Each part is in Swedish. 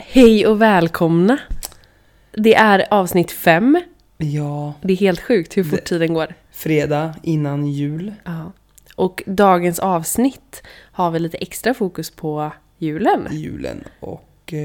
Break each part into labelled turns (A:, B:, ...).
A: Hej och välkomna! Det är avsnitt fem.
B: Ja,
A: Det är helt sjukt hur fort
B: Det-
A: tiden går.
B: fredag innan jul.
A: Ja. Och dagens avsnitt har vi lite extra fokus på julen.
B: Julen och... Eh,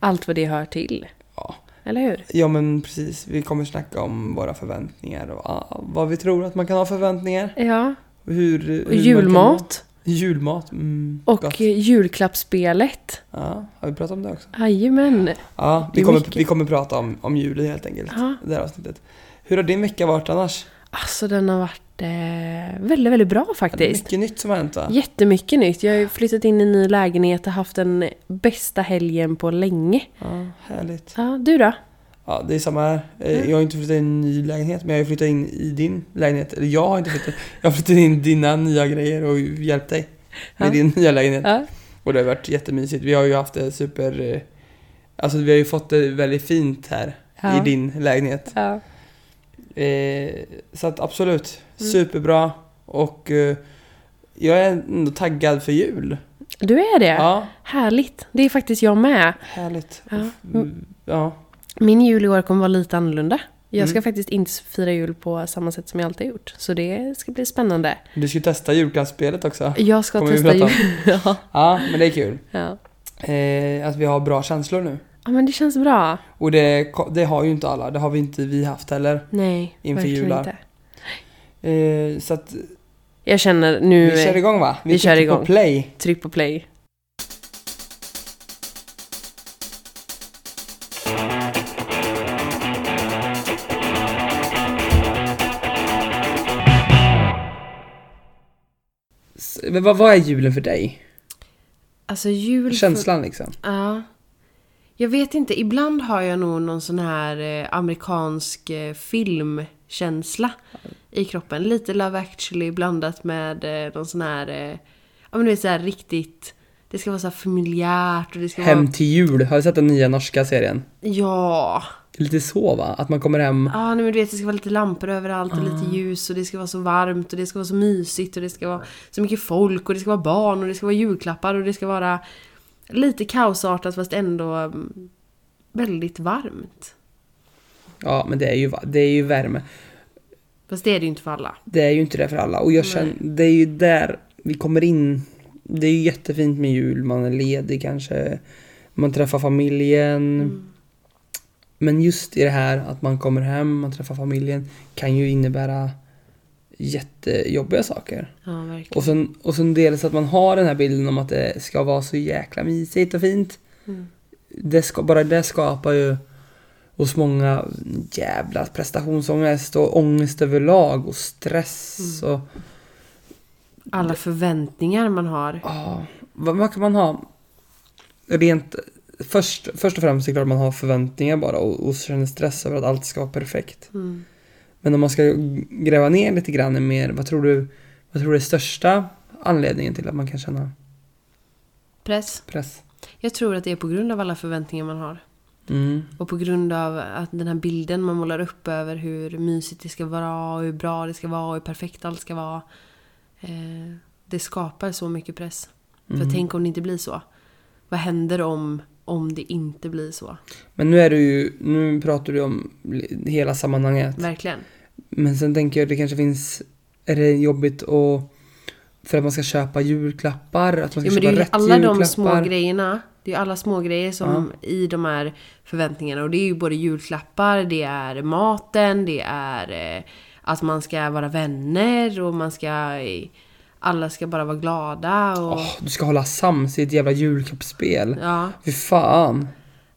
A: Allt vad det hör till.
B: ja.
A: Eller hur?
B: ja, men precis. Vi kommer snacka om våra förväntningar och ah, vad vi tror att man kan ha förväntningar.
A: Ja.
B: Hur, hur man
A: Och
B: kan-
A: julmat.
B: Julmat. Mm, gott.
A: Och julklappsspelet.
B: Ja, har vi pratat om det också?
A: Jajamän.
B: Ja,
A: Det
B: vi
A: är
B: kommer,
A: mycket.
B: vi kommer prata om, om julen helt enkelt.
A: Ja.
B: Det här avsnittet. Hur har din vecka varit annars?
A: Alltså den har varit eh, väldigt, väldigt bra
B: Det är
A: faktiskt.
B: mycket nytt som har hänt va?
A: Jättemycket nytt. Jag har ju flyttat in i en ny lägenhet och haft den bästa helgen på länge.
B: Ja, härligt.
A: Ja, du då?
B: Ja, det är samma här. Eh,
A: Mm.
B: Jag har inte flyttat in i en ny lägenhet, men jag har ju flyttat in i din lägenhet. Eller jag har inte flyttat Jag har flyttat in dina nya grejer och hjälpt dig med
A: Ja.
B: din nya lägenhet.
A: Ja.
B: Och det har varit jättemysigt. Vi har ju haft det super... eh, Alltså vi har ju fått det väldigt fint här
A: Ja.
B: i din lägenhet.
A: Ja.
B: Eh, så att absolut,
A: Mm.
B: superbra. Och eh, jag är ändå taggad för jul.
A: Du är det?
B: Ja,
A: Härligt. Det är faktiskt jag med.
B: härligt.
A: Ja.
B: Mm, Ja,
A: Min jul i år kommer vara lite annorlunda. Jag ska
B: Mm.
A: faktiskt inte fira jul på samma sätt som jag alltid gjort. Så det ska bli spännande.
B: du ska ju testa julklappsspelet också.
A: Jag ska
B: Kommer vi
A: testa
B: prata om?
A: jul. ja.
B: Ja, men det är kul.
A: Ja.
B: Eh, att vi har bra känslor nu.
A: ja, men det känns bra.
B: Och det, ko- det har ju inte alla, det har vi inte vi haft heller.
A: Nej,
B: Inför
A: verkligen
B: jular.
A: inte.
B: Eh, så att
A: Jag känner nu...
B: vi kör igång va?
A: vi kör
B: trycker
A: igång.
B: på play.
A: Tryck på play.
B: S- Men vad, vad är julen för dig?
A: Alltså jul...
B: Känslan liksom.
A: Ja. Jag vet inte, ibland har jag nog någon sån här eh, amerikansk eh, filmkänsla i kroppen. Lite Love actually blandat med eh, någon sån här, eh, ja men du vet såhär riktigt, det ska vara så här familjärt och det ska vara...
B: Hem till jul, har du sett den nya norska serien?
A: Ja!
B: Lite så va? Att man kommer hem.
A: Ja, nej, men du vet det ska vara lite lampor överallt och lite ljus och det ska vara så varmt och det ska vara så mysigt och det ska vara så mycket folk och det ska vara barn och det ska vara julklappar och det ska vara lite kaosartat fast ändå mm, väldigt varmt.
B: Ja men det är ju, va- det är ju värme.
A: Fast det är det ju inte för alla.
B: Det är ju inte det för alla. Och jag känner, det är ju där vi kommer in. Det är ju jättefint med jul, man är ledig kanske. Man träffar familjen. Men just i det här att man kommer hem, man träffar familjen kan ju innebära jättejobbiga saker.
A: Ja, verkligen.
B: Och sen, och sen dels att man har den här bilden om att det ska vara så jäkla mysigt och fint.
A: Mm.
B: Det ska, bara det skapar ju hos många jävla prestationsångest och ångest överlag och stress och
A: Alla förväntningar man har.
B: Ja, vad, vad kan man ha? Rent, först, först och främst är det klart man har förväntningar bara och, och känner stress över att allt ska vara perfekt.
A: Mm.
B: Men om man ska gräva ner lite grann mer, vad tror du, vad tror du är största anledningen till att man kan känna
A: Press.
B: press?
A: Jag tror att det är på grund av alla förväntningar man har.
B: Mm.
A: Och på grund av att den här bilden man målar upp över hur mysigt det ska vara och hur bra det ska vara och hur perfekt allt ska vara. Eh, det skapar så mycket press. För tänk om det inte blir så. Vad händer om, om det inte blir så?
B: Men nu är du ju, nu pratar du om li- hela sammanhanget.
A: Verkligen.
B: Men sen tänker jag det kanske finns, är det jobbigt att, för att man ska köpa julklappar, att man ska
A: Jo, men det
B: köpa
A: är ju
B: rätt
A: alla
B: julklappar.
A: de små grejerna. Det är ju alla små grejer som i de här förväntningarna. Och det är ju både julklappar, det är maten, det är eh, att man ska vara vänner och man ska... eh, Alla ska bara vara glada och...
B: Åh, du ska hålla sams i ett jävla julklappsspel.
A: Ja.
B: Fy fan.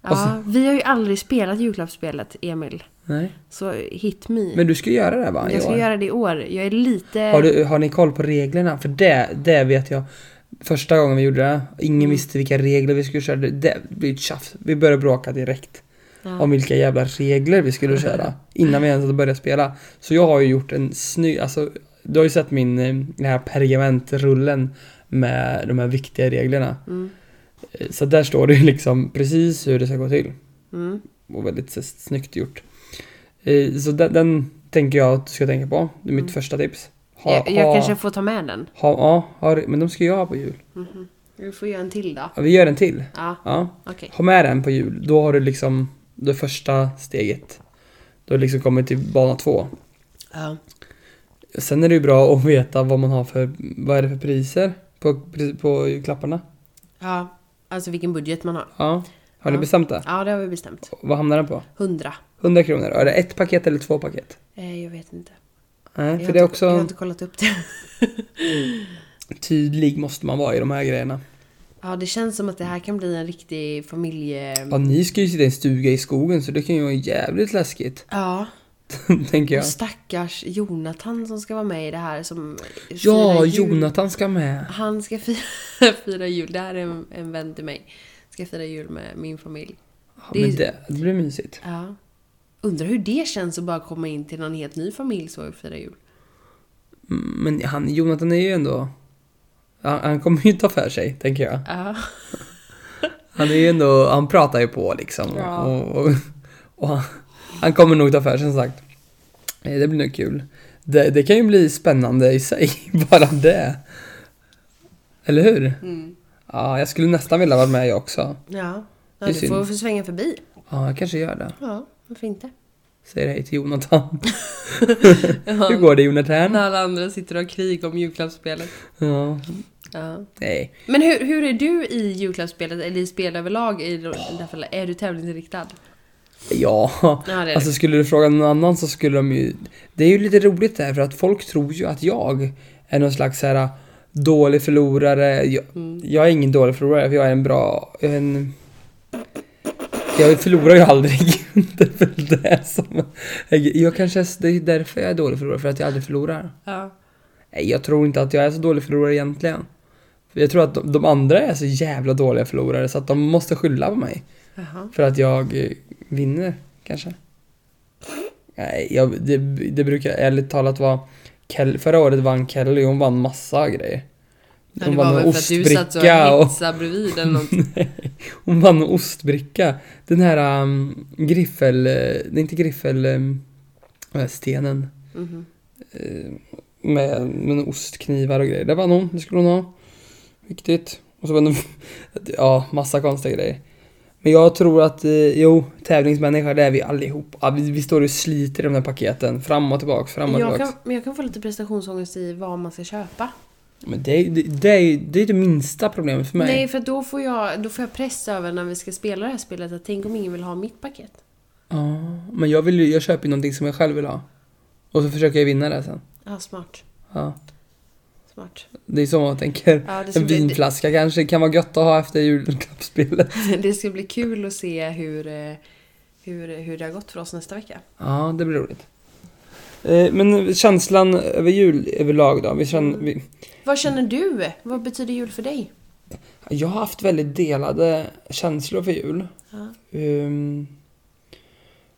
A: ja.
B: Alltså.
A: Vi har ju aldrig spelat julklappsspelet, Emil.
B: Nej.
A: Så hit me.
B: Men du ska göra det va? i
A: jag ska
B: år?
A: göra det i år. Jag är lite...
B: har, du, har ni koll på reglerna? För det, det vet jag. Första gången vi gjorde det, ingen
A: Mm.
B: visste vilka regler vi skulle köra. Det, det blir ett tjafs. Vi började bråka direkt.
A: Ja.
B: Om vilka jävla regler vi skulle köra. Innan vi ens hade börjat spela. Så jag har ju gjort en snygg, alltså. Du har ju sett min, eh, den här pergamentrullen. Med de här viktiga reglerna.
A: Mm.
B: Eh, Så där står det ju liksom precis hur det ska gå till.
A: Mm.
B: och väldigt s- snyggt gjort. Eh, Så den, den tänker jag att du ska tänka på. Det är mitt första tips. Ha,
A: Mm. jag jag
B: ha,
A: kanske får ta med den.
B: ha, ja, ha, men de ska jag ha på jul.
A: Vi får göra en till då.
B: Ja, vi gör en till.
A: Ja,
B: Ja.
A: okej.
B: Ha med den på jul. Då har du liksom det första steget. Då har du liksom kommit till bana två.
A: Ja.
B: Sen är det ju bra att veta vad man har för, vad är det för priser på, på julklapparna.
A: ja, alltså vilken budget man har.
B: Ja. Har ni
A: Ja.
B: bestämt det?
A: Ja, det har vi bestämt.
B: Vad hamnar den på?
A: 100.
B: 100 kronor. Är det ett paket eller två paket?
A: Eh, jag vet inte.
B: Nej,
A: Jag
B: för
A: har,
B: det är
A: inte, jag har
B: också
A: inte kollat upp det.
B: tydlig måste man vara i de här grejerna.
A: Ja, det känns som att det här kan bli en riktig familje...
B: Ja, ni ska ju sitta i en stuga i skogen så det kan ju vara jävligt läskigt.
A: Ja,
B: Tänker jag.
A: och stackars Jonathan som ska vara med i det här som
B: Ja,
A: firar jul.
B: Jonathan ska med.
A: Han ska fira, fira jul, det här är en, en vän till mig. Ska fira jul med min familj.
B: Ja,
A: Det är-
B: men det, det blir mysigt.
A: Ja. Undrar hur det känns att bara komma in till någon helt ny familj så och fira jul.
B: Mm, Men han, Jonathan är ju ändå... Han, han kommer ju ta för sig, tänker jag.
A: Ja.
B: Han är ju ändå... Han pratar ju på liksom.
A: Ja.
B: Och, och, och han, han kommer nog ta för sig, som sagt. Eh, Det blir nog kul. Det, det kan ju bli spännande i sig, bara det. Eller hur?
A: Mm.
B: Ja, jag skulle nästan vilja vara med jag också.
A: Ja.
B: Det
A: ja
B: är
A: du
B: synd.
A: får får svänga förbi.
B: Ja, jag kanske gör det.
A: Ja, varför inte?
B: Säger hej till Jonathan. Hur går det Jonathan?
A: När alla andra sitter och har krig om julklappsspelet.
B: Ja,
A: Ja.
B: nej.
A: Men hur, hur är du i julklappsspelet, eller i spel överlag? I, i det här fallet? Är du tävlingsinriktad?
B: Ja,
A: Ja, det är
B: Alltså skulle du fråga någon annan så skulle de ju... Det är ju lite roligt där för att folk tror ju att jag är någon slags så här äh, dålig förlorare. Jag,
A: det. Mm.
B: jag är ingen dålig förlorare för jag är en bra... jag är En, jag förlorar ju aldrig. det är väl det som... Jag, jag kanske... är- Det är därför jag är dålig förlorare, för att jag aldrig förlorar.
A: Ja.
B: Nej, jag tror inte att jag är så dålig förlorare egentligen. För jag tror att de, de andra är så jävla dåliga förlorare så att de måste skylla på mig.
A: Jaha.
B: För att jag eh, vinner, kanske? Nej, jag, det, det brukar ärligt talat vara... Kell, förra året vann Kelly, hon vann massa grejer.
A: Ja,
B: Hon
A: det
B: vann
A: var
B: en
A: väl för att du satt och
B: ostbricka och...
A: hetsade bredvid eller något.
B: Hon vann en ostbricka. Den här um, griffel... eh, Det är inte griffel... Um, vad är stenen.
A: Mhm.
B: Eh, med, med ostknivar och grejer. Det vann hon, det skulle hon ha. Viktigt. Och så vann hon, ja, massa konstiga grejer. Men jag tror att, eh, jo, tävlingsmänniska det är vi allihop. Ja, vi, vi står och sliter i de där paketen, fram och tillbaks, fram och
A: Jag
B: tillbaks.
A: kan, men jag kan få lite prestationsångest i vad man ska köpa.
B: Men det är ju- det, det, är, ju- det är det minsta problemet för mig.
A: Nej, för då får, jag, då får jag press över när vi ska spela det här spelet att tänk om ingen vill ha mitt paket.
B: Ja, men jag, vill, ju- jag köper ju någonting som jag själv vill ha. Och så försöker jag vinna det sen.
A: Ja, smart.
B: Ja,
A: Smart.
B: det är så man tänker.
A: Ja, Alltså, det, ska
B: En
A: bli,
B: vinflaska kanske kan vara gött att ha efter julklappsspelet.
A: det, det ska bli kul att se hur, eh, hur, hur det har gått för oss nästa vecka.
B: Ja, det blir roligt. Eh, Men känslan över jul överlag då? Vi känner, vi,
A: Vad känner du? Vad betyder jul för dig?
B: jag har haft väldigt delade känslor för jul.
A: Ja.
B: Ehm,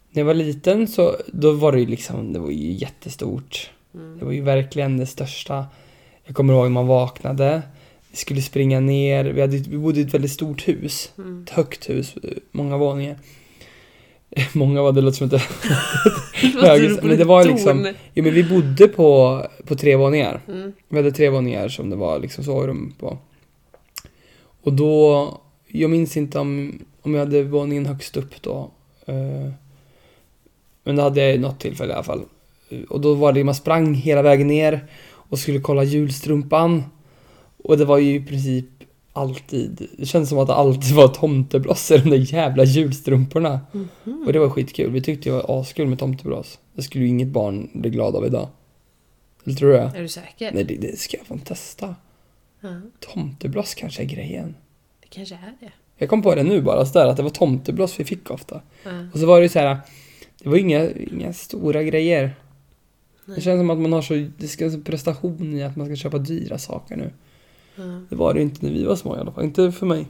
B: när jag var liten så då var det ju liksom, det var ju jättestort. Det
A: Mm.
B: var ju verkligen det största. Jag kommer ihåg när man vaknade. Vi skulle springa ner. Vi, hade, vi bodde i ett väldigt stort hus.
A: Mm.
B: ett högt hus, eh, många våningar. Många var det låter som inte...
A: Mm.
B: höghus, men det var liksom... Jo men vi bodde på, på tre våningar.
A: Mm.
B: Vi hade tre våningar som det var liksom sovrum på. Och då, jag minns inte om, om jag hade våningen högst upp då. Eh, Men det hade jag ju något tillfälle i alla fall. Eh, Och då var det, man sprang hela vägen ner och skulle kolla julstrumpan. Och det var ju i princip alltid, det kändes som att det alltid var tomtebloss i de där jävla julstrumporna.
A: Mhm.
B: Och det var skitkul, vi tyckte det var askul med tomtebloss. Det skulle ju inget barn bli glad av idag. Eller tror jag?
A: Är du säker?
B: Nej, det, det ska jag fan testa.
A: Ja,
B: Tomteblås kanske är grejen.
A: det kanske är det.
B: Jag kom på det nu bara, så där, att det var tomteblås vi fick ofta.
A: Ja.
B: Och så var det ju så här, det var inga, inga stora grejer.
A: Nej.
B: Det känns som att man har så, det ska så prestation i att man ska köpa dyra saker nu.
A: Ja. mm.
B: Det var det ju inte när vi var små i alla fall, inte för mig.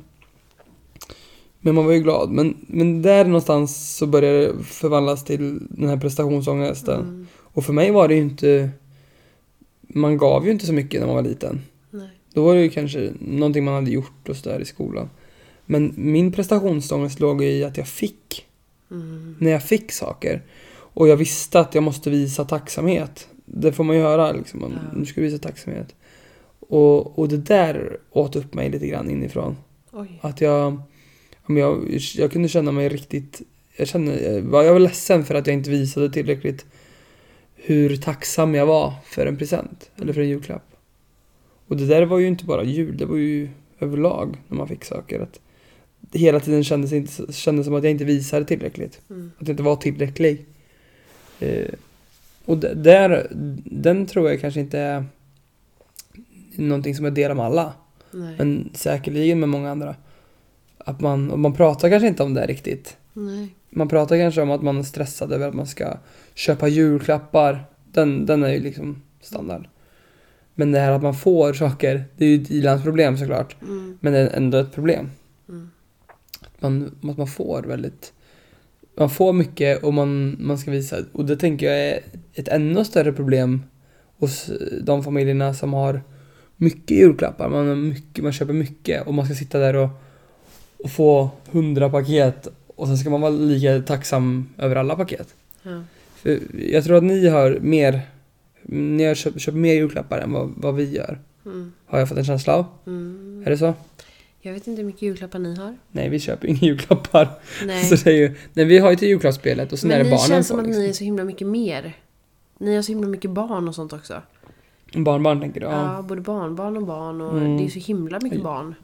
B: Men man var ju glad. Men, men där någonstans så började det förvandlas till den här prestationsångesten.
A: Mm.
B: Och för mig var det ju inte, man gav ju inte så mycket när man var liten.
A: Nej.
B: Då var det ju kanske någonting man hade gjort och sådär i skolan. Men min prestationsångest låg ju i att jag fick,
A: Mm.
B: när jag fick saker. Och jag visste att jag måste visa tacksamhet. Det får man ju höra liksom, om
A: Ja.
B: du ska visa tacksamhet. Och, och det där åt upp mig lite grann inifrån.
A: Oj.
B: Att jag, ja, men jag, jag kunde känna mig riktigt, jag kände, jag var jag var ledsen för att jag inte visade tillräckligt hur tacksam jag var för en present eller för en julklapp. Och det där var ju inte bara jul, det var ju överlag när man fick saker. Att det hela tiden kändes, inte, kändes som att jag inte visade tillräckligt.
A: Mm.
B: Att jag inte var tillräcklig. Eh, och d- där, den tror jag kanske inte är någonting som jag delar med alla.
A: Nej.
B: Men säkerligen med många andra. Att man, och man pratar kanske inte om det riktigt.
A: Nej.
B: Man pratar kanske om att man är stressad över att man ska köpa julklappar. Den, den är ju liksom standard. Men det här att man får saker, det är ju ett i-landsproblem såklart.
A: Mm.
B: Men det är ändå ett problem.
A: Mm.
B: Att, man, att man får väldigt... Man får mycket och man, man ska visa. Och det tänker jag är ett ännu större problem hos eh, de familjerna som har mycket julklappar. Man, har mycket, man köper mycket och man ska sitta där och, och få hundra paket och sen ska man vara lika tacksam över alla paket.
A: Ja.
B: För jag tror att ni har mer... Ni har köpt, köpt mer julklappar än vad, vad vi gör.
A: Mm.
B: Har jag fått en känsla av.
A: Mm.
B: Är det så?
A: Jag vet inte hur mycket julklappar ni har.
B: Nej, vi köper ju inga julklappar.
A: Nej.
B: Så det är ju, nej, vi har ju till julklappsspelet och sen
A: Men
B: är
A: ni
B: det barnen
A: känns som
B: får,
A: att
B: liksom.
A: ni är så himla mycket mer. Ni har så himla mycket barn och sånt också.
B: Barnbarn tänker du?
A: Ja,
B: Ja.
A: både barnbarn och barn och
B: Mm.
A: det är så himla mycket
B: Oj.
A: barn.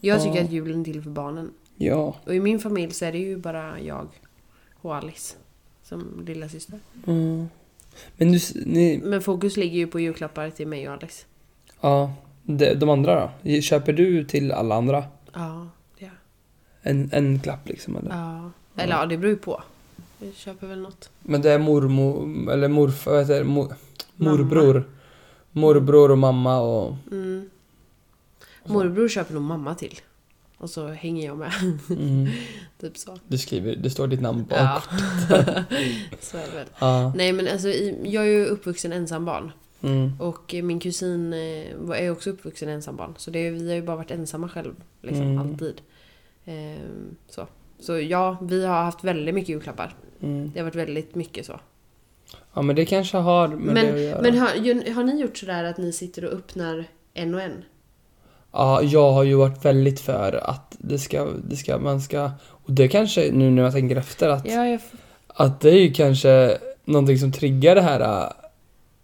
A: Jag tycker
B: Ja.
A: att julen är till för barnen.
B: ja.
A: Och i min familj så är det ju bara jag och Alice som lilla syster.
B: Mm. Men du, s- ni,
A: Men fokus ligger ju på julklappar till mig och Alice.
B: ja. De, de andra då? Köper du till alla andra?
A: Ja, det gör
B: En, en klapp liksom eller?
A: jag. ja. Eller ja, det beror ju på. Jag köper väl något.
B: Men det är mormor, eller morfar, vad heter det? Mor,
A: Mamma.
B: morbror. Morbror och mamma och...
A: Mm. Morbror köper nog mamma till. Och så hänger jag med.
B: Mm.
A: typ så.
B: Du skriver, det står ditt namn på.
A: Ja. så är det väl.
B: Ja.
A: Nej men alltså, i- jag är ju uppvuxen ensam barn.
B: Mm.
A: Och eh, min kusin eh, var- är också uppvuxen ensam barn. Så det, vi har ju bara varit ensamma själv. Liksom,
B: Mm.
A: Alltid. Ehm, så. så ja, vi har haft väldigt mycket julklappar.
B: Mm.
A: Det har varit väldigt mycket så.
B: Ja men det kanske har med
A: Men-
B: det att göra.
A: Men har, ju- har ni gjort sådär att ni sitter och öppnar en och en?
B: Ja, jag har ju varit väldigt för att det ska, det ska, man ska... Och det kanske, nu när jag tänker efter, att,
A: Ja, jag... f-
B: att det är ju kanske någonting som triggar det här äh,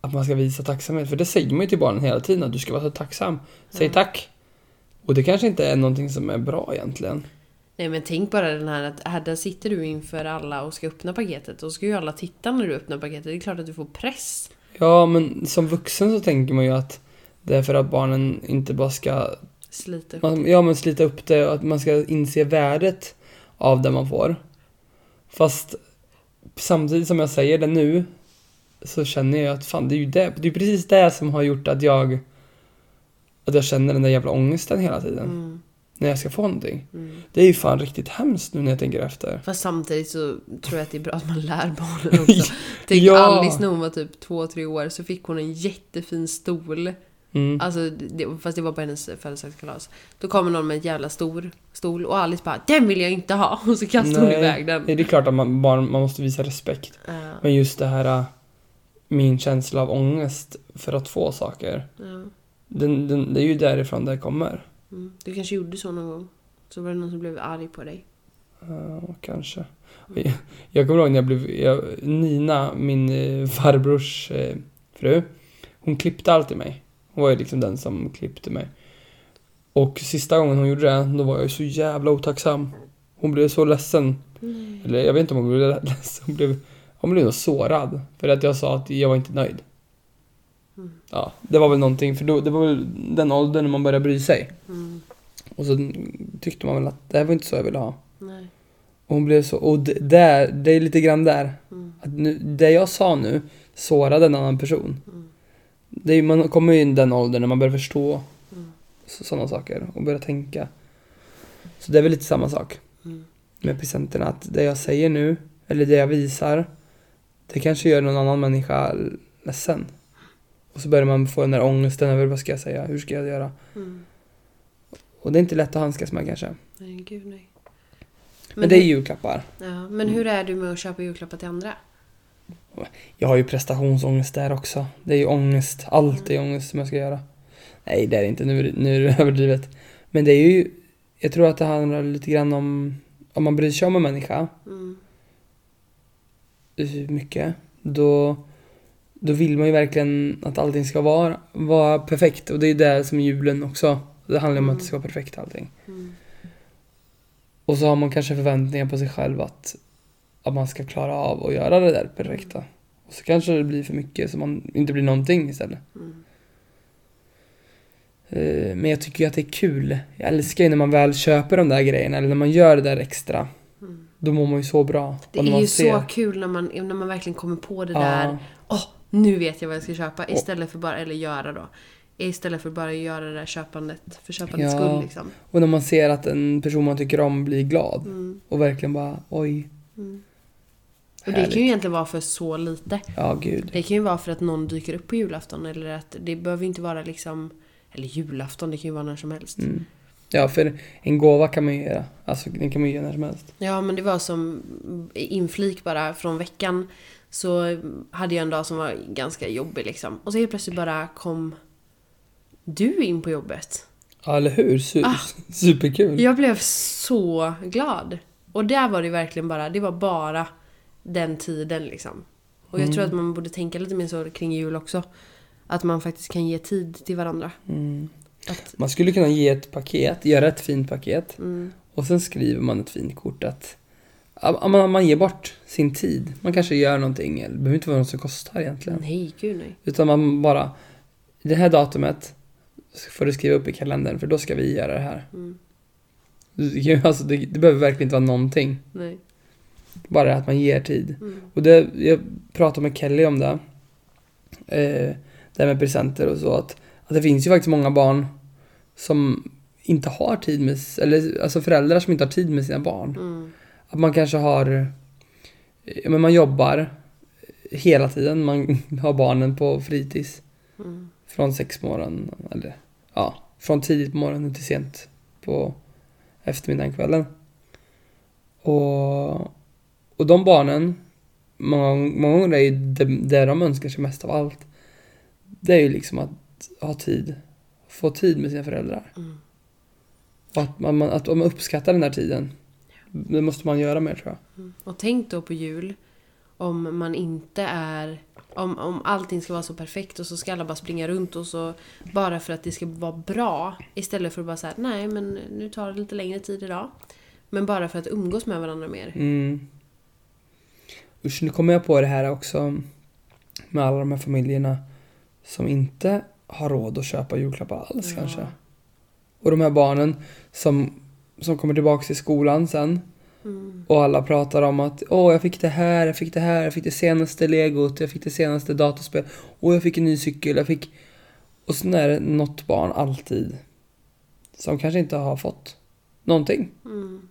B: att man ska visa tacksamhet. För det säger man ju till barnen hela tiden, att du ska vara så tacksam. Säg
A: Ja.
B: tack. Och det kanske inte är någonting som är bra egentligen.
A: Nej men tänk bara den här att här där sitter du inför alla och ska öppna paketet. Och ska ju alla titta när du öppnar paketet. Det är klart att du får press.
B: Ja, men som vuxen så tänker man ju att det är för att barnen inte bara ska
A: Slita upp.
B: Man, ja, men slita upp det och att man ska inse värdet av det man får. Fast samtidigt som jag säger det nu så känner jag att fan, det är ju det, det är precis det som har gjort att jag att jag känner den där jävla ångesten hela tiden
A: Mm,
B: när jag ska få någonting.
A: mm.
B: Det är ju fan riktigt hemskt nu när jag tänker efter.
A: Fast samtidigt så tror jag att det är bra att man lär barnen också. Tänk
B: Ja.
A: Alice när hon var typ två, tre år så fick hon en jättefin stol.
B: Mm.
A: Alltså, det, fast det var på hennes födelsedagskalas. Då kommer någon med en jävla stor stol och Alice bara “Den vill jag inte ha!” och så kastar hon
B: Nej.
A: iväg den.
B: Det är klart att man, barn, man måste visa respekt.
A: Ja,
B: Men just det här äh, min känsla av ångest för att få saker.
A: ja.
B: Den, den, det är ju därifrån det kommer.
A: Mm. Du kanske gjorde så någon gång? Så var det någon som blev arg på dig.
B: Ja, Eh, kanske. Jag, jag kommer ihåg när jag blev... Jag, Nina, min eh, farbrors eh, fru, hon klippte alltid mig. Hon var ju liksom den som klippte mig. Och sista gången hon gjorde det, då var jag ju så jävla otacksam. Hon blev så ledsen. Eller jag vet inte om hon blev ledsen. Hon blev, hon blev nog sårad. För att jag sa att jag var inte nöjd.
A: Mm.
B: Ja, det var väl någonting. För då, det var väl den åldern när man började bry sig.
A: Mm.
B: Och så tyckte man väl att det här var inte så jag ville ha.
A: Nej.
B: Och hon blev så, och d- där, det är lite grann där.
A: Mm.
B: Att nu, det jag sa nu sårade en annan person.
A: Mm.
B: Det är, man kommer ju i den åldern när man börjar förstå
A: Mm.
B: sådana saker och börjar tänka. Så det är väl lite samma sak
A: Mm.
B: med presenterna. Att det jag säger nu, eller det jag visar, det kanske gör någon annan människa ledsen. Och så börjar man få den där ångesten över vad ska jag säga, hur ska jag göra?
A: Mm.
B: Och det är inte lätt att handskas med kanske. Men,
A: Nej, gud nej. Men,
B: det är Mm. julklappar.
A: Ja, men hur är du med att köpa julklappar till andra?
B: Jag har ju prestationsångest där också. Det är ju ångest. Allt är ångest som jag ska göra. Nej, det är det inte. Nu, är det- nu är det överdrivet. Men det är ju... Jag tror att det handlar lite grann om... Om man bryr sig om en människa
A: Mm.
B: eh, mycket, då... Då vill man ju verkligen att allting ska vara, vara perfekt. Och det är ju det som är julen också. Det handlar om att det ska vara perfekt allting.
A: Mm.
B: Och så har man kanske förväntningar på sig själv att, att man ska klara av att göra det där perfekta.
A: Mm.
B: Och så kanske det blir för mycket så man inte blir någonting istället.
A: Mm.
B: Eh, Men jag tycker ju att det är kul. Jag älskar ju när man väl köper de där grejerna eller när man gör det där extra.
A: Mm.
B: Då mår man ju så bra.
A: Det
B: Och när man
A: är ju så kul när man, när man verkligen kommer på det
B: Ja.
A: där. Åh, nu vet jag vad jag ska köpa. Istället för bara, eller göra då. Istället för bara göra det där köpandet för köpandets
B: Ja.
A: skull liksom.
B: Och när man ser att en person man tycker om blir glad.
A: Mm.
B: Och verkligen bara oj.
A: Och det
B: Härligt.
A: kan ju egentligen vara för så lite.
B: Ja gud.
A: Det kan ju vara för att någon dyker upp på julafton eller att det behöver inte vara liksom eller julafton, det kan ju vara när som helst.
B: Mm. Ja för en gåva kan man ju göra. Alltså den kan man ju göra när som helst.
A: Ja men det var som inflik bara från veckan. Så hade jag en dag som var ganska jobbig liksom. Och så helt plötsligt bara kom du in på jobbet.
B: Ja eller hur? Su- Superkul.
A: Jag blev så glad. Och där var det verkligen bara, det var bara den tiden liksom. Och jag tror att man borde tänka lite mer så kring jul också. Att man faktiskt kan ge tid till varandra.
B: Mm.
A: Att,
B: Man skulle kunna ge ett paket, göra ett fint paket.
A: mm,
B: Och sen skriver man ett fint kort att ja, man, man ger bort sin tid. Man kanske gör någonting. eller Det behöver inte vara något som kostar egentligen.
A: nej, gud nej.
B: Utan man bara, det här datumet får du skriva upp i kalendern för då ska vi göra det här.
A: Mm.
B: Det- Alltså, det, det behöver verkligen inte vara någonting.
A: nej.
B: Bara att man ger tid.
A: Mm.
B: Och det, jag pratade med Kelly om det. Eh, det här med presenter och så. Att, att det finns ju faktiskt många barn som inte har tid med, s- eller alltså föräldrar som inte har tid med sina barn.
A: Mm.
B: Att man kanske har... eh, ja, Men man jobbar hela tiden. Man har barnen på fritids.
A: Mm.
B: Från sex på morgonen. Eller ja, från tidigt på morgonen till sent på eftermiddagen, kvällen. Och, och de barnen, många, många gånger är ju det, det de önskar sig mest av allt. Det är ju liksom att ha tid. Få tid med sina föräldrar.
A: Mm.
B: Och att man, man- att man uppskattar den här tiden. Det måste man göra mer tror jag.
A: Och tänk då på jul om man inte är... Om, om allting ska vara så perfekt och så ska alla bara springa runt och så bara för att det ska vara bra istället för att bara säga nej men nu tar det lite längre tid idag. Men bara för att umgås med varandra mer.
B: Mm. Usch, nu kommer jag på det här också med alla de här familjerna som inte har råd att köpa julklappar alls
A: Ja.
B: kanske. Och de här barnen som, som kommer tillbaka till skolan sen
A: Mm.
B: och alla pratar om att åh, jag fick det här, jag fick det här, jag fick det senaste legot, jag fick det senaste datorspel, och jag fick en ny cykel, jag fick... Och sen är det något barn alltid som kanske inte har fått någonting.
A: Mm.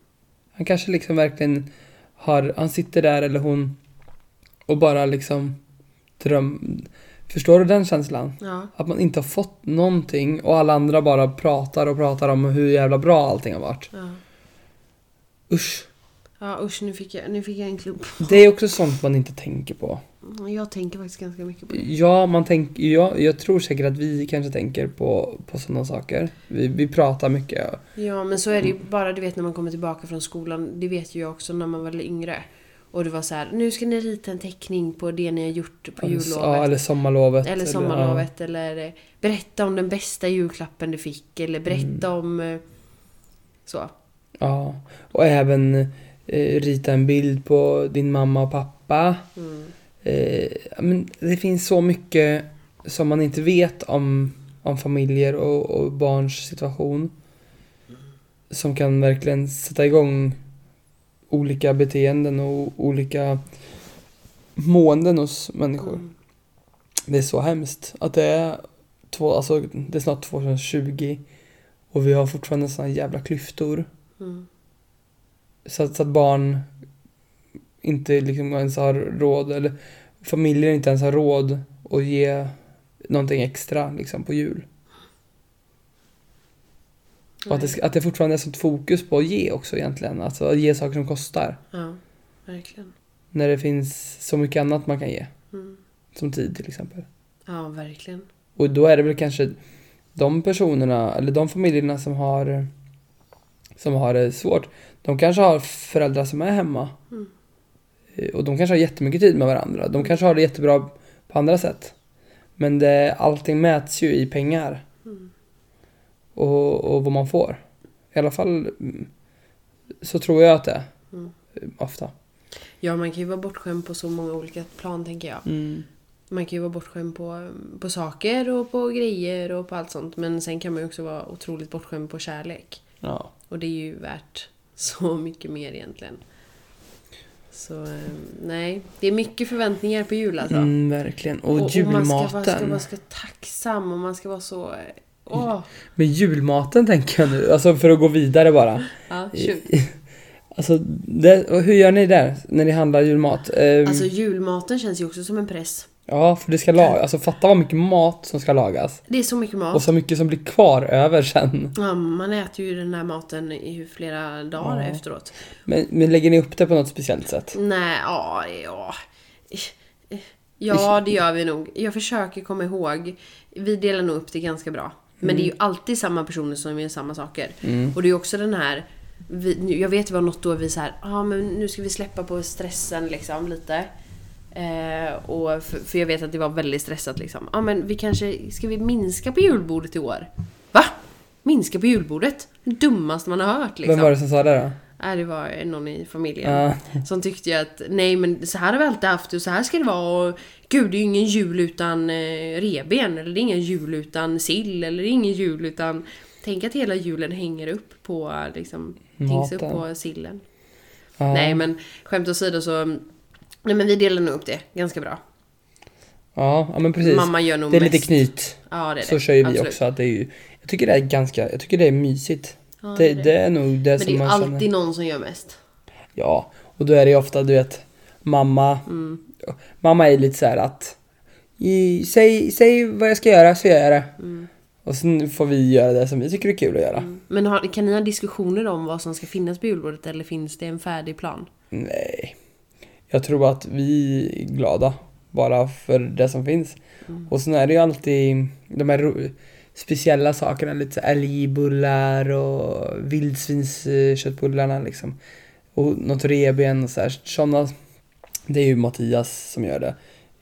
B: Han kanske liksom verkligen har, han sitter där eller hon och bara liksom dröm... Förstår du den känslan?
A: Ja.
B: Att man inte har fått någonting och alla andra bara pratar och pratar om hur jävla bra allting har varit.
A: Ja.
B: Usch.
A: Ja usch nu fick jag, nu fick jag en klump.
B: Det är också sånt man inte tänker på.
A: Jag tänker faktiskt ganska mycket på det.
B: Ja, man tänk, ja, jag tror säkert att vi kanske tänker på, på sådana saker. Vi, vi pratar mycket.
A: Ja men så är det ju bara du vet när man kommer tillbaka från skolan. Det vet ju jag också när man var yngre. Och det var så här, nu ska ni rita en teckning på det ni har gjort på
B: Ja,
A: jullovet.
B: eller sommarlovet.
A: Eller sommarlovet eller, eh, berätta om den bästa julklappen du fick eller berätta
B: Mm.
A: om eh, så.
B: Ja, ja. och även eh, rita en bild på din mamma och pappa.
A: Mm.
B: Eh, men det finns så mycket som man inte vet om, om familjer och, och barns situation. Som kan verkligen sätta igång olika beteenden och olika måenden hos människor.
A: Mm.
B: Det är så hemskt att det är, två, alltså, det är snart 2020 och vi har fortfarande såna jävla klyftor.
A: Mm.
B: Så att, så att barn inte liksom ens har råd, eller familjer inte ens har råd att ge någonting extra liksom, på jul. Och att det, ska- att det fortfarande är sånt fokus på att ge också egentligen. Alltså att ge saker som kostar.
A: Ja, verkligen.
B: När det finns så mycket annat man kan ge.
A: Mm.
B: Som tid till exempel.
A: Ja, verkligen.
B: Och då är det väl kanske de personerna, eller de familjerna som har som har det svårt, de kanske har föräldrar som är hemma.
A: Mm.
B: Eh, Och de kanske har jättemycket tid med varandra. De kanske har det jättebra på andra sätt. Men det, allting mäts ju i pengar.
A: Mm.
B: Och, och vad man får. I alla fall mm, så tror jag att det är.
A: Mm.
B: Ofta.
A: Ja, man kan ju vara bortskämd på så många olika plan tänker jag. Man kan ju vara bortskämd på, mm, på saker och på grejer och på allt sånt. Men sen kan man ju också vara otroligt bortskämd på kärlek.
B: Ja.
A: Och det är ju värt så mycket mer egentligen. Så eh, nej, det är mycket förväntningar på jul alltså.
B: Mm, verkligen. Och,
A: Man ska, vara, ska,
B: julmaten. Mm.
A: man ska vara tacksam och man ska vara så... eh, Åh!
B: Men julmaten tänker jag nu, alltså för att gå vidare bara.
A: Ja,
B: mm.
A: shoot.
B: Alltså, det, och hur gör ni där när ni handlar julmat? Ehm,
A: Alltså julmaten känns ju också som en press.
B: ja, för det ska lagas. Alltså fatta vad mycket mat som ska lagas.
A: Det är så mycket mat.
B: Och så mycket som blir kvar över sen.
A: Ja, man äter ju den här maten i flera dagar efteråt.
B: Men, men lägger ni upp det på något speciellt sätt?
A: Nej, ja, ja. Ja, det gör vi nog. Jag försöker komma ihåg. Vi delar nog upp det ganska bra. Men det är ju alltid samma personer som gör samma saker. Och det är ju också den här... Vi, nu- jag vet det var något år vi så här, ah, men nu ska vi släppa på stressen liksom lite. Eh, och för, för jag vet att det var väldigt stressat liksom. Ja ah, men vi kanske, ska vi minska på julbordet i år? Va? Minska på julbordet? Det dummaste man har hört liksom.
B: Vem var det som sa det då?
A: Nej, det var någon i familjen
B: Ja.
A: som tyckte ju att nej men så här har vi alltid haft det och så här ska det vara och gud det är ju ingen jul utan eh, reben eller det är ingen jul utan sill eller det är ingen jul utan tänk att hela julen hänger upp på liksom hängs upp
B: Maten.
A: på sillen.
B: Ja.
A: Nej men skämt åsido så nej men vi delar nog upp det ganska bra.
B: Ja, ja men precis.
A: Mamma gör nog
B: det är
A: mest.
B: lite knyt.
A: Ja det är det.
B: Så kör ju vi
A: Absolut.
B: också. Att det är ju, jag tycker det är ganska, jag tycker det är mysigt.
A: Ja,
B: det, det är nog det
A: Men
B: som
A: det är ju
B: man
A: alltid
B: känner.
A: någon som gör mest.
B: Ja, och då är det ju ofta du vet mamma. Mamma är lite så här att i, säg, säg vad jag ska göra så gör jag det. Och sen får vi göra det som vi tycker är kul att göra.
A: Men har, kan ni ha diskussioner om vad som ska finnas på julbordet eller finns det en färdig plan?
B: Nej. Jag tror att vi är glada bara för det som finns. Och sen är det ju alltid de här ro- speciella sakerna, lite så här älgbullar och vildsvinsköttbullarna liksom. Och något revben och så här. Sådana, det är ju Mattias som gör det.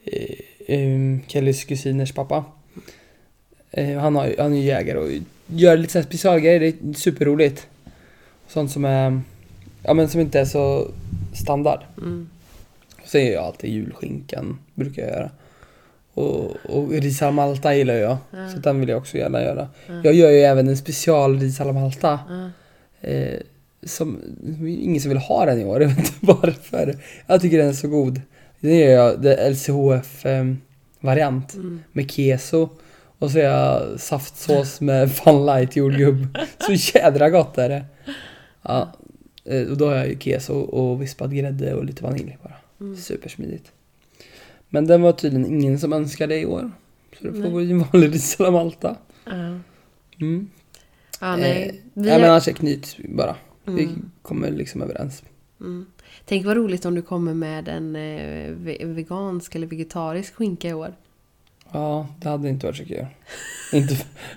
B: Eh, em, Kellys kusiners pappa. Eh, Han, har, ju- han är ju jägare och gör lite så här specialgrejer, det är superroligt. Sånt som är, ja men som inte är så standard.
A: Mm.
B: Sen gör jag alltid julskinkan, brukar jag göra. Och, och ris alla malta gillar jag,
A: Ja.
B: så den vill jag också gärna göra.
A: Ja.
B: Jag gör ju även en special ris alla malta.
A: Ja.
B: Eh, som, ingen som vill ha den i år, jag vet inte varför. Jag tycker den är så god. Den gör jag, det är LCHF-variant
A: Mm.
B: eh, med keso. Och så gör jag saftsås med Fun Light jordgubb. Så jädra gott är det. Ja, eh, och då har jag ju keso och vispad grädde och lite vanilj bara.
A: Mm.
B: Supersmidigt. Men den var tydligen ingen som önskade i år. Så det får
A: Nej.
B: bli en vanlig ris alla malta.
A: Ja.
B: Mm.
A: Ja,
B: Eh,
A: nej. Vi
B: Nej men
A: har-
B: annars är knyt bara. Vi kommer liksom överens.
A: mm. Tänk vad roligt om du kommer med en eh, ve- vegansk eller vegetarisk skinka i år.
B: Ja, det hade inte varit så kul. inte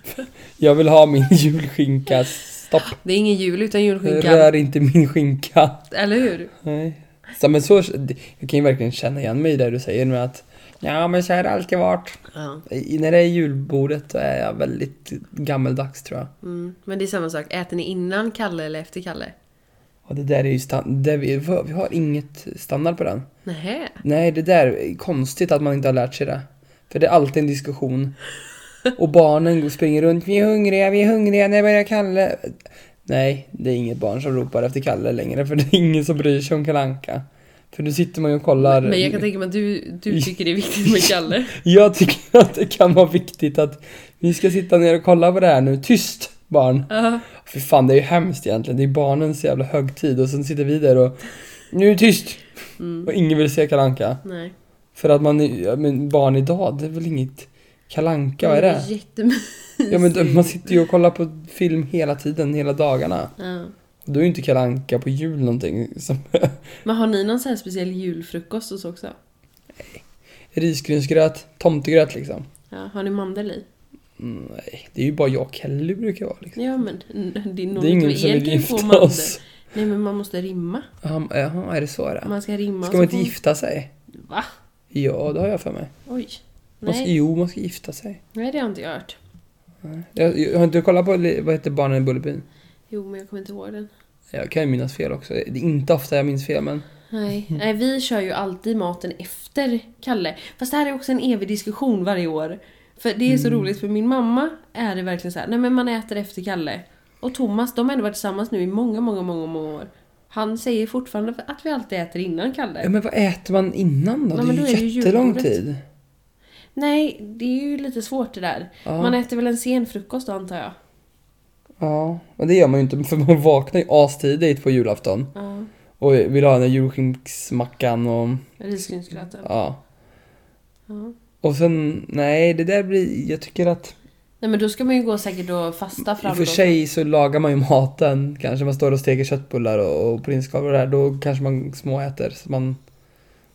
B: jag vill ha min julskinka. Stopp!
A: Det är ingen jul utan julskinka.
B: Rör inte min skinka.
A: Eller hur?
B: Nej. Så, men så, jag kan ju verkligen känna igen mig i det du säger med att Ja men så har det alltid varit.
A: Ja.
B: I- När det är julbordet då är jag väldigt gammeldags tror jag.
A: Mm. Men det är samma sak. Äter ni innan Kalle eller efter Kalle?
B: Och det där är ju stan- det vi, vi har inget standard på den.
A: Nähä.
B: Nej det där är konstigt att man inte har lärt sig det. För det är alltid en diskussion. Och barnen går- springer runt. Vi är hungriga, vi är hungriga, när börjar Kalle? Nej, det är inget barn som ropar efter Kalle längre för det är ingen som bryr sig om Kalle Anka. För nu sitter man ju och kollar.
A: Men jag kan tänka mig att du, du tycker det är viktigt med Kalle.
B: Jag tycker att det kan vara viktigt att vi ska sitta ner och kolla på det här nu. Tyst barn!
A: Ja.
B: För fan det är ju hemskt egentligen. Det är barnens jävla högtid och sen sitter vi där och nu är det tyst! Och ingen vill se kalanka.
A: Mm. Nej.
B: För att man är, ja, men barn idag, det är väl inget kalanka vad är det?
A: Jättemysigt.
B: Ja men de- man sitter ju och kollar på film hela tiden, hela dagarna.
A: Ja.
B: Och då är ju inte kalanka på jul någonting som
A: Men har ni någon sån här speciell julfrukost och så också?
B: risgrynsgröt, tomtegröt liksom. Mm,
A: Ja. Har ni mandel i?
B: Nej, det är ju bara jag och Kelly brukar vara liksom.
A: Ja men n- det är nog
B: Det är
A: inte
B: ingen som vill
A: egentligen får
B: gifta
A: man inte.
B: oss.
A: Nej men man måste rimma.
B: Jaha, jaha, är det så det är?
A: Man ska rimma.
B: Ska
A: och
B: man
A: så
B: inte
A: får-
B: gifta sig?
A: Va?
B: Ja, det har jag för mig.
A: Oj.
B: Man ska,
A: Nej.
B: jo, man ska gifta sig.
A: Nej det har jag inte jag hört.
B: Nej. Jag, jag har inte kollat på, li- vad heter Barnen i Bullerbyn?
A: Jo men jag kommer inte ihåg den.
B: Jag kan ju minnas fel också. Det är inte ofta jag minns fel, men...
A: Nej. Nej vi kör ju alltid maten efter Kalle. Fast det här är också en evig diskussion varje år. För det är så
B: Mm.
A: roligt för min mamma är det verkligen så här. nej men man äter efter Kalle. Och Thomas, de har ändå varit tillsammans nu i många, många, många, många år. Han säger fortfarande att vi alltid äter innan Kalle.
B: Ja, men vad äter man innan då?
A: Nej,
B: det
A: men
B: är
A: då
B: ju
A: är det ju
B: jättelång
A: julbordet.
B: tid.
A: Nej, det är ju lite svårt det där.
B: Ja.
A: Man äter väl en sen frukost då antar jag.
B: Ja, men det gör man ju inte för man vaknar ju astidigt på julafton.
A: Ja.
B: Och vill ha den där julskinksmackan och...
A: Risgrynsgröten.
B: Ja.
A: Ja.
B: Och sen, nej det där blir, jag tycker att...
A: Nej men då ska man ju gå säkert och fasta
B: I och
A: fram
B: för
A: då.
B: sig så lagar man ju maten, kanske man står och steker köttbullar och, och prinskorv och det där, då kanske man småäter. Så man...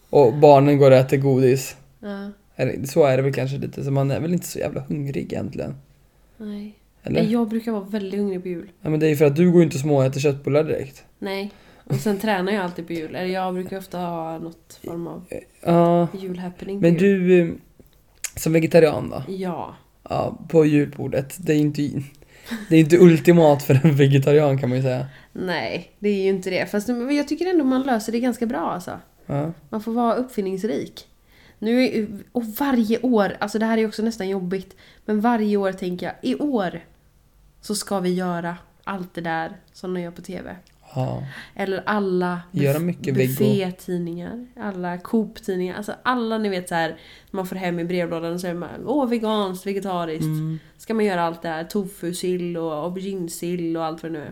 B: Och barnen går och äter godis.
A: Ja,
B: Eller, så är det väl kanske lite, så man är väl inte så jävla hungrig egentligen.
A: nej.
B: Eller?
A: Nej, Jag brukar vara väldigt hungrig på jul.
B: Ja, men det är ju för att du går ju inte och småäter köttbullar direkt.
A: Nej. Och sen tränar jag alltid på jul. Eller jag brukar ofta ha något form av
B: Ja,
A: julhappening på
B: men
A: jul.
B: du... eh, Som vegetarian då?
A: Ja.
B: Ja, på julbordet. Det är ju inte, det är inte ultimat för en vegetarian kan man ju säga.
A: Nej, det är ju inte det. Fast men jag tycker ändå man löser det ganska bra alltså.
B: Ja.
A: Man får vara uppfinningsrik. Nu är, och varje år, alltså det här är också nästan jobbigt, men varje år tänker jag, i år så ska vi göra allt det där som de gör på TV.
B: ja.
A: Eller alla
B: Göra mycket veggo.
A: buffé-tidningar, alla Coop-tidningar, alltså alla ni vet så här man får hem i brevlådan och så är man åh veganskt, vegetariskt.
B: Mm.
A: Ska man göra allt det här, tofu-sill och aubergine-sill och allt vad det nu är.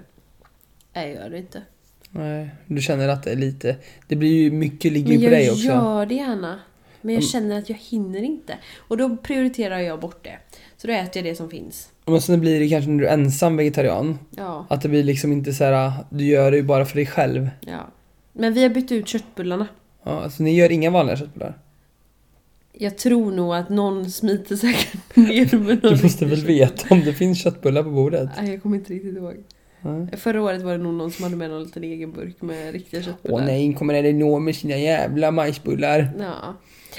A: Nej, jag gör det inte.
B: Nej, du känner att det är lite... Det blir ju mycket ligger
A: Men
B: ju på dig
A: jag
B: också. Mm.
A: gör det gärna. Men jag känner att jag hinner inte. Och då prioriterar jag bort det. Så då äter jag det som finns.
B: Men sen blir det kanske när du är ensam vegetarian.
A: Ja.
B: Att det blir liksom inte så här, du gör det ju bara för dig själv.
A: ja. Men vi har bytt ut köttbullarna.
B: Ja, alltså ni gör inga vanliga köttbullar?
A: Jag tror nog att någon smiter säkert ner med någon.
B: Du måste väl veta om det finns köttbullar på bordet?
A: Nej, jag kommer inte riktigt ihåg.
B: Nej.
A: Förra året var det nog någon som hade med någon liten egen burk med riktiga köttbullar.
B: Åh nej, kommer det nå med sina jävla majsbullar?
A: Ja.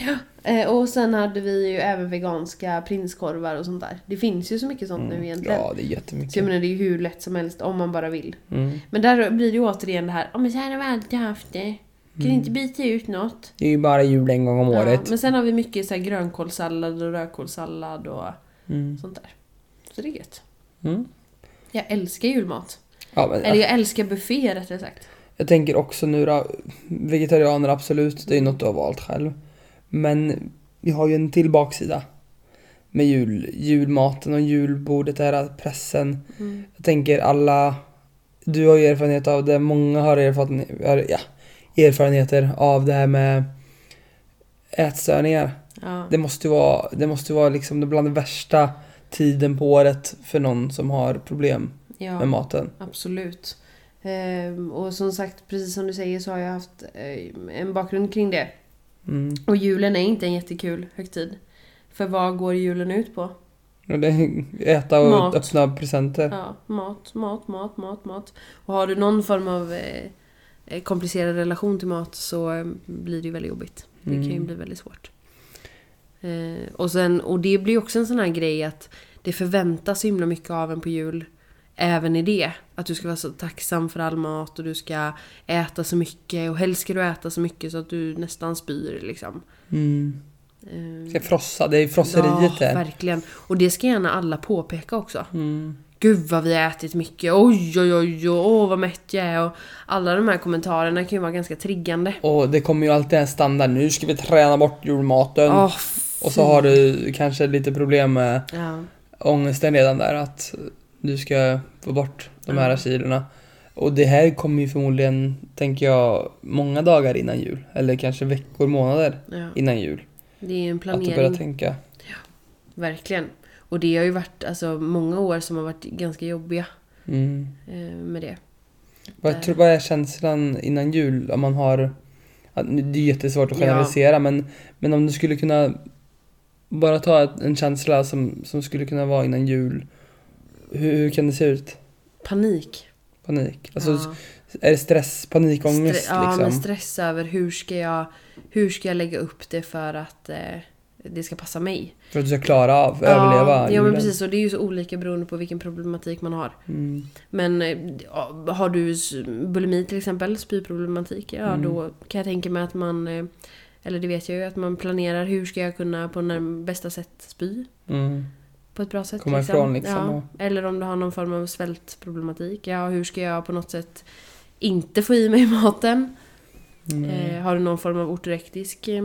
A: Ja, eh, Och sen hade vi ju även veganska prinskorvar och sånt där. Det finns ju så mycket sånt nu egentligen.
B: Mm, Ja, det är
A: Så jag
B: jättemycket.
A: menar det är ju hur lätt som helst om man bara vill.
B: Mm.
A: Men där blir det ju återigen det här, ja men så här har vi alltid haft det. Kan inte
B: Mm.
A: byta ut något?
B: Det är ju bara jul en gång om
A: Ja,
B: året.
A: men sen har vi mycket så här grönkålssallad och rödkålssallad och
B: Mm.
A: sånt där. Så det är gött.
B: Mm.
A: Jag älskar julmat.
B: Ja, men,
A: Eller jag älskar buffé rättare sagt.
B: Jag tänker också nu då, vegetarianer absolut, det är ju något du har valt själv. Men vi har ju en till baksida. Med jul, julmaten och julbordet, det här pressen.
A: Mm.
B: Jag tänker alla, du har ju erfarenhet av det, många har erfarenhet, har- ja, erfarenheter av det här med ätstörningar.
A: Ja.
B: Det måste ju vara, det måste ju vara liksom det bland det värsta tiden på året för någon som har problem med
A: ja.
B: maten.
A: Absolut. Ehm, och som sagt, precis som du säger så har jag haft eh, en bakgrund kring det.
B: Mm.
A: Och julen är inte en jättekul högtid. För vad går julen ut på?
B: Och det, äta och
A: Mat.
B: öppna presenter.
A: Ja, mat, mat, mat, mat, mat. Och har du någon form av eh, eh, komplicerad relation till mat så eh, blir det ju väldigt jobbigt. Det kan ju
B: Mm.
A: bli väldigt svårt. Eh, och, sen, och det blir ju också en sån här grej att det förväntas så himla mycket av en på jul. Även i det. Att du ska vara så tacksam för all mat och du ska äta så mycket. Och helst ska du äta så mycket så att du nästan spyr liksom.
B: Mm.
A: Eh,
B: Ska frossa, det är frosseriet
A: ja,
B: där.
A: verkligen. Och det ska gärna alla påpeka också.
B: Mm.
A: Gud vad vi har ätit mycket, oj oj oj, oj åh vad mätt jag är. Och alla de här kommentarerna kan ju vara ganska triggande.
B: Och det kommer ju alltid en standard, nu ska vi träna bort julmaten.
A: Åh, f-
B: Mm. Och så har du kanske lite problem med
A: Ja.
B: ångesten redan där att du ska få bort de här
A: Mm.
B: kilorna. Och det här kommer ju förmodligen, tänker jag, många dagar innan jul. Eller kanske veckor, månader
A: ja.
B: innan jul.
A: Det är ju en
B: Att du börjar
A: planering,
B: tänka.
A: verkligen. Och det har ju varit alltså, många år som har varit ganska jobbiga
B: Mm.
A: eh, med det.
B: Vad, tror- vad är känslan innan jul om man har... att nu- Det är jättesvårt att generalisera men, men om du skulle kunna bara ta ett- en känsla som, som skulle kunna vara innan jul. Hur, hur kan det se ut?
A: Panik.
B: Panik? Alltså,
A: ja.
B: är det stress, panikångest
A: Stre- Ja, men
B: liksom?
A: stress över hur ska jag, hur ska jag lägga upp det för att eh, det ska passa mig.
B: För att du ska klara av,
A: Ja,
B: överleva?
A: ja, men
B: julen.
A: precis. Och det är ju så olika beroende på vilken problematik man har.
B: Mm.
A: Men eh, ja, har du s- bulimi till exempel, spyproblematik, ja
B: Mm.
A: då kan jag tänka mig att man, eh, eller det vet jag ju, att man planerar hur ska jag kunna på närm- bästa sätt spy
B: Mm.
A: på ett bra sätt.
B: Komma ifrån, liksom,
A: Ja.
B: och-
A: Eller om du har någon form av svältproblematik, ja hur ska jag på något sätt inte få i mig maten?
B: Mm.
A: Eh, har du någon form av ortorektisk eh,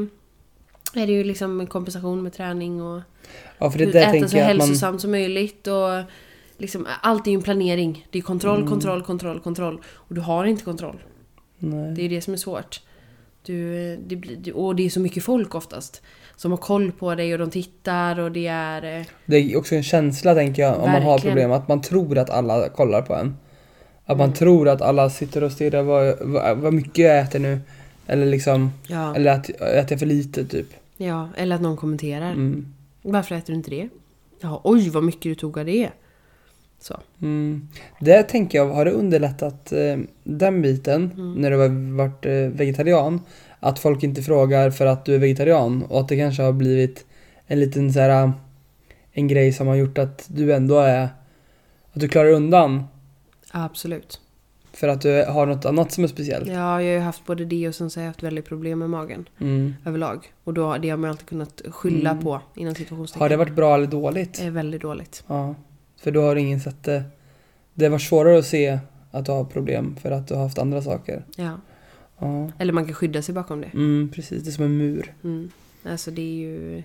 A: är det ju liksom en kompensation med träning och
B: Ja, för det där
A: äta så
B: tänker jag att man...
A: hälsosamt som möjligt och liksom, allt är ju en planering. Det är kontroll,
B: Mm.
A: kontroll, kontroll, kontroll. Och du har inte kontroll. Det
B: Nej.
A: är ju det som är svårt. Du, eh, det, blir- det- och det är så mycket folk oftast. Som har koll på dig och de tittar och det är... eh,
B: Det är också en känsla tänker jag om man har
A: Verkligen.
B: problem, att man tror att alla kollar på en. Att
A: Mm.
B: man tror att alla sitter och stirrar, vad, vad, vad mycket jag äter nu. Eller liksom,
A: Ja.
B: eller att, att jag för lite typ.
A: ja, eller att någon kommenterar.
B: Mm.
A: Varför äter du inte det? Ja, oj vad mycket du tog av det. Så.
B: Mm. Det tänker jag, har det underlättat eh, den biten
A: Mm.
B: när du har varit eh, vegetarian? Att folk inte frågar för att du är vegetarian och att det kanske har blivit en liten så här, en grej som har gjort att du ändå är, att du klarar undan
A: Absolut.
B: för att du har något annat som är speciellt.
A: Ja, jag har ju haft både det och sen så har jag haft väldigt problem med magen
B: Mm.
A: överlag. Och då, det har man ju alltid kunnat skylla
B: Mm.
A: på inom situationstecken.
B: Har det varit bra eller dåligt?
A: är väldigt dåligt.
B: Ja. För då har ingen sett det. Det var svårare att se att du har problem för att du har haft andra saker.
A: Ja.
B: Ja.
A: Eller man kan skydda sig bakom det.
B: Mm, precis, det är som en mur.
A: Mm. Alltså det är ju...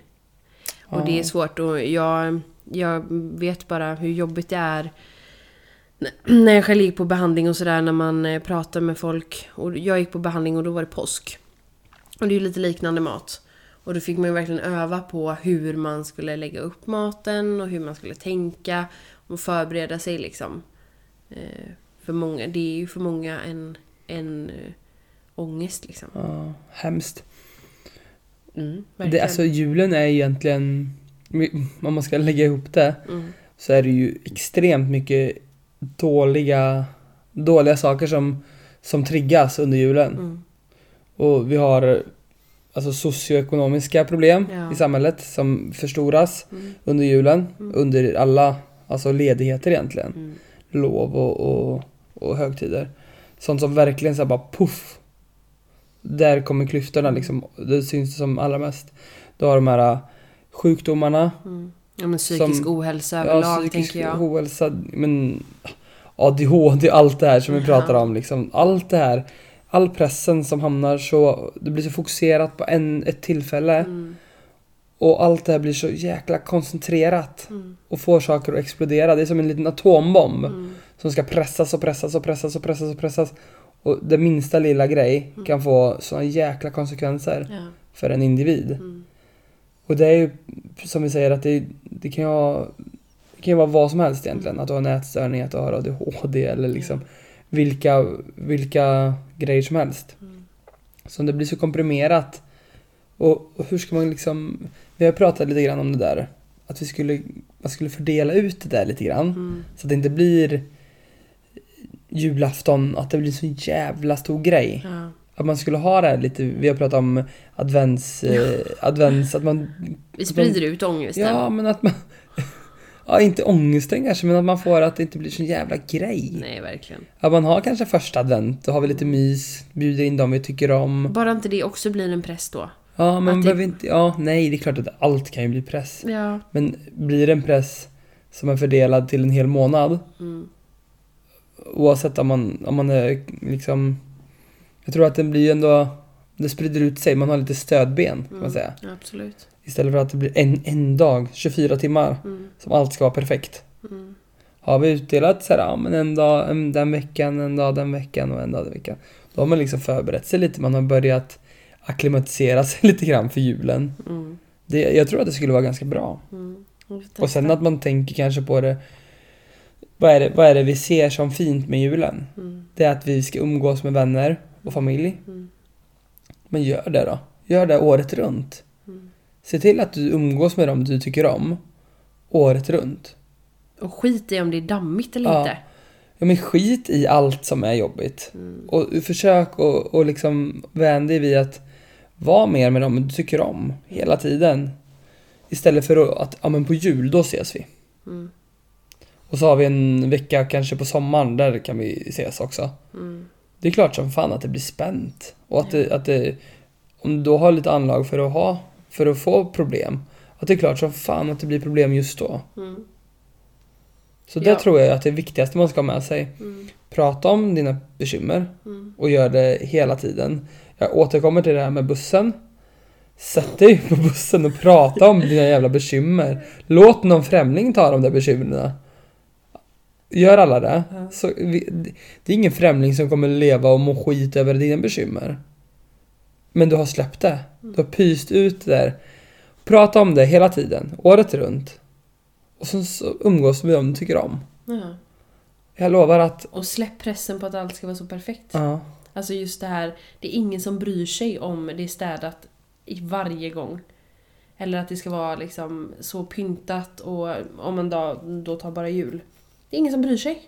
B: Ja.
A: Och det är svårt och jag, jag vet bara hur jobbigt det är n- när jag själv gick på behandling och sådär när man eh, pratar med folk. Och jag gick på behandling och då var det påsk. Och det är ju lite liknande mat. Och då fick man ju verkligen öva på hur man skulle lägga upp maten och hur man skulle tänka och förbereda sig liksom. Eh, För många, det är ju för många en, en eh, ångest liksom.
B: Ja, hemskt.
A: Mm,
B: Det, alltså julen är ju egentligen, om man ska lägga ihop det,
A: Mm.
B: så är det ju extremt mycket dåliga, dåliga saker som, som triggas under julen.
A: Mm.
B: Och vi har alltså socioekonomiska problem
A: Ja.
B: i samhället som förstoras
A: Mm.
B: under julen,
A: Mm.
B: under alla alltså ledigheter egentligen.
A: Mm.
B: Lov och, och, och högtider. Sånt som verkligen så här bara puff. Där kommer klyftorna liksom. Det syns som allra mest. Du har de här äh, sjukdomarna.
A: Mm. Ja men psykisk
B: Som-
A: ohälsa överlag tänker jag.
B: ohälsa, men ADHD, allt det här som vi
A: Ja.
B: pratar om liksom. Allt det här. All pressen som hamnar så, det blir så fokuserat på en, ett tillfälle.
A: Mm.
B: Och allt det här blir så jäkla koncentrerat.
A: Mm.
B: Och får saker att explodera. Det är som en liten atombomb.
A: Mm.
B: Som ska pressas och pressas och pressas och pressas och pressas. Och det minsta lilla grej
A: Mm.
B: kan få såna jäkla konsekvenser
A: Ja.
B: för en individ.
A: Mm.
B: Och det är ju som vi säger att det, det kan ju ha- det kan ju vara vad som helst egentligen. Att du har en ätstörning, att du har ADHD eller liksom vilka, vilka grejer som helst.
A: Mm.
B: Så det blir så komprimerat. Och, och hur ska man liksom... Vi har pratat lite grann om det där. Att vi skulle, man skulle fördela ut det där lite grann.
A: Mm.
B: Så att det inte blir julafton, att det blir en så jävla stor grej.
A: Ja.
B: Att man skulle ha det här lite, vi har pratat om advents, eh, advents att man...
A: Vi sprider ut ångesten.
B: Ja, men att man... Ja, inte ångesten kanske, men att man får att det inte blir så jävla grej.
A: Nej verkligen.
B: Att man har kanske första advent, då har vi lite mys, bjuder in dem vi tycker om.
A: Bara inte det också blir en press då.
B: Ja, men
A: Att
B: man
A: det-
B: behöver inte... Ja, nej, det är klart att allt kan ju bli press.
A: Ja.
B: Men blir det en press som är fördelad till en hel månad,
A: Mm.
B: Oavsett om man, om man är liksom... Jag tror att den blir ju ändå... Det sprider ut sig, man har lite stödben kan man
A: Mm.
B: säga.
A: Absolut.
B: Istället för att det blir en, en dag, 24 timmar,
A: Mm.
B: som allt ska vara perfekt.
A: Mm.
B: Har vi utdelat så här, ja, men en dag en, den veckan, en dag den veckan och en dag den veckan. Då har man liksom förberett sig lite, man har börjat akklimatisera sig lite grann för julen.
A: Mm.
B: Det, jag tror att det skulle vara ganska bra.
A: Mm. Vi får
B: Och sen
A: testa.
B: att man tänker kanske på det... Vad är det, vad är det vi ser som fint med julen?
A: Mm.
B: Det är att vi ska umgås med vänner och familj.
A: Mm.
B: Men gör det då. Gör det året runt.
A: Mm.
B: Se till att du umgås med dem du tycker om året runt.
A: Och skit i om det är dammigt eller
B: Ja.
A: inte.
B: Ja, men skit i allt som är jobbigt. Och försök att och liksom vänja dig vid att vara mer med dem du tycker om hela tiden. Istället för att, ja men på jul, då ses vi. Och så har vi en vecka kanske på sommaren, där kan vi ses också. Det är klart som fan att det blir spänt. Och att det, att det, om du då har lite anlag för att ha, för att få problem. Att det är klart som fan att det blir problem just då. Så det
A: Ja.
B: tror jag att det är viktigaste man ska ha med sig. Prata om dina bekymmer och gör det hela tiden. Jag återkommer till det här med bussen. Sätt dig på bussen och prata om dina jävla bekymmer. Låt någon främling ta de där bekymren. Gör alla det. Så vi, det är ingen främling som kommer leva och må skit över dina bekymmer. Men du har släppt det. Du har pyst ut det där. Prata om det hela tiden, året runt. Och sen så umgås du med dem du tycker om.
A: Ja.
B: Jag lovar att...
A: Och släpp pressen på att allt ska vara så perfekt.
B: Ja.
A: Alltså just det här, det är ingen som bryr sig om det är städat i varje gång. Eller att det ska vara liksom så pyntat och om man då, då tar bara jul. Det är ingen som bryr sig.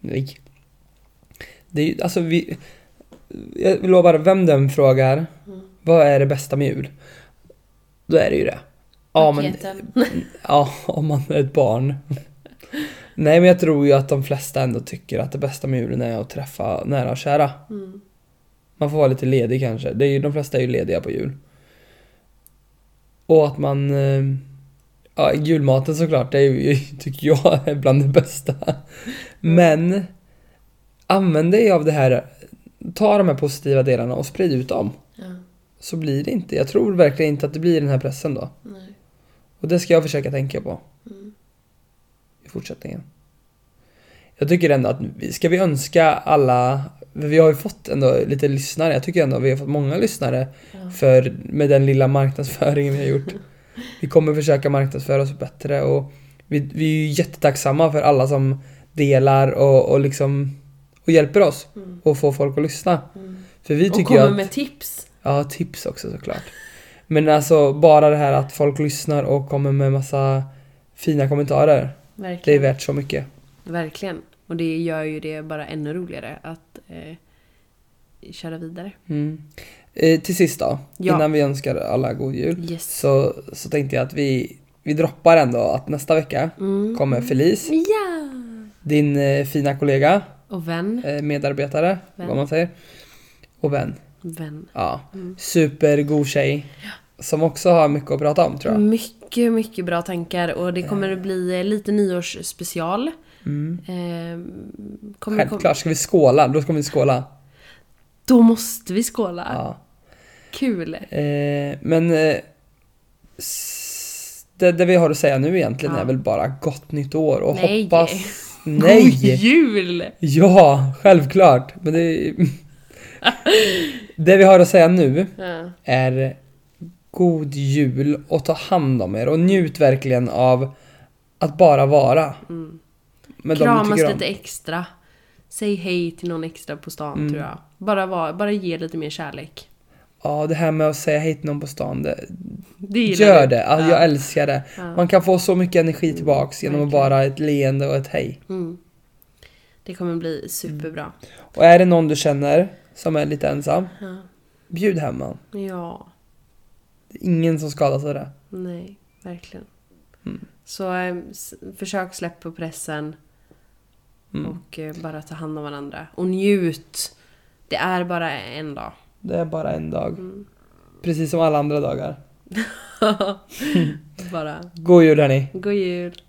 B: Nej. Det är ju, alltså vi... Jag lovar, vem den frågar, vad är det bästa med jul? Då är det ju det. Ja, men,
A: Paketen.
B: ja, om man är ett barn. Nej, men jag tror ju att de flesta ändå tycker att det bästa med julen är att träffa nära och kära.
A: Mm.
B: Man får vara lite ledig kanske. Det är ju, de flesta är ju lediga på jul. Och att man... eh, Ja, julmaten såklart, det är ju, tycker jag är bland det bästa. Men använd dig av det här. Ta de här positiva delarna och sprid ut dem.
A: Ja,
B: Så blir det inte. Jag tror verkligen inte att det blir den här pressen då.
A: nej. Mm.
B: Och det ska jag försöka tänka på. I fortsättningen. Jag tycker ändå att, vi- ska vi önska alla, vi har ju fått ändå lite lyssnare, jag tycker ändå att vi har fått många lyssnare
A: Ja.
B: för, med den lilla marknadsföringen vi har gjort. Vi kommer försöka marknadsföra oss bättre och vi, vi är ju jättetacksamma för alla som delar och, och liksom och hjälper oss
A: Mm.
B: och får folk att lyssna.
A: Mm.
B: För vi
A: Och
B: tycker ju
A: kommer
B: att...
A: med tips.
B: Ja, tips också såklart. Men alltså bara det här att folk lyssnar och kommer med massa fina kommentarer. Det är
A: Verkligen.
B: värt så mycket.
A: Verkligen. Och det gör ju det bara ännu roligare att eh, köra vidare.
B: Mm. Eh, till sist då,
A: Ja.
B: innan vi önskar alla god jul.
A: Yes.
B: Så, så tänkte jag att vi, vi droppar ändå att nästa vecka
A: Mm.
B: kommer Felice,
A: Ja!
B: din eh, fina kollega,
A: Och vän.
B: eh, medarbetare,
A: Vän.
B: vad man säger. Och vän.
A: Vän.
B: Ja.
A: Mm.
B: Supergod tjej. Som också har mycket att prata om
A: Mm,
B: tror jag.
A: Mycket, mycket bra tankar och det kommer att bli eh, lite nyårsspecial. Ehm, kommer,
B: Mm. Självklart, ska vi skåla? Då ska vi skåla.
A: då måste vi skåla.
B: Ja.
A: Kul!
B: Eh, men eh, s- det, det vi har att säga nu egentligen
A: Ja.
B: är väl bara gott nytt år och
A: Nej.
B: hoppas...
A: God
B: Nej!
A: jul!
B: Ja, självklart! Men det... det vi har att säga nu
A: Ja.
B: är god jul och ta hand om er och njut verkligen av att bara vara. Med dem du
A: Mm. Kramas
B: tycker om.
A: lite extra. Säg hej till någon extra på stan
B: Mm.
A: tror jag. Bara, var, bara ge lite mer kärlek.
B: Ja, det här med att säga hej till någon på stan, det,
A: Det gillar
B: Gör
A: du.
B: det, alltså, jag älskar det. Man kan få så mycket
A: Mm,
B: energi tillbaks genom att bara ett leende och ett hej.
A: Det kommer bli superbra.
B: Och är det någon du känner som är lite ensam, bjud hem han.
A: Ja,
B: Det är ingen som skadas av det.
A: nej, verkligen. Så eh, s- försök släpp på pressen. Och eh, bara ta hand om varandra. Och njut! Det är bara en dag. Mm.
B: Det är bara en dag. Precis som alla andra dagar.
A: bara,
B: God jul hörni!
A: god jul!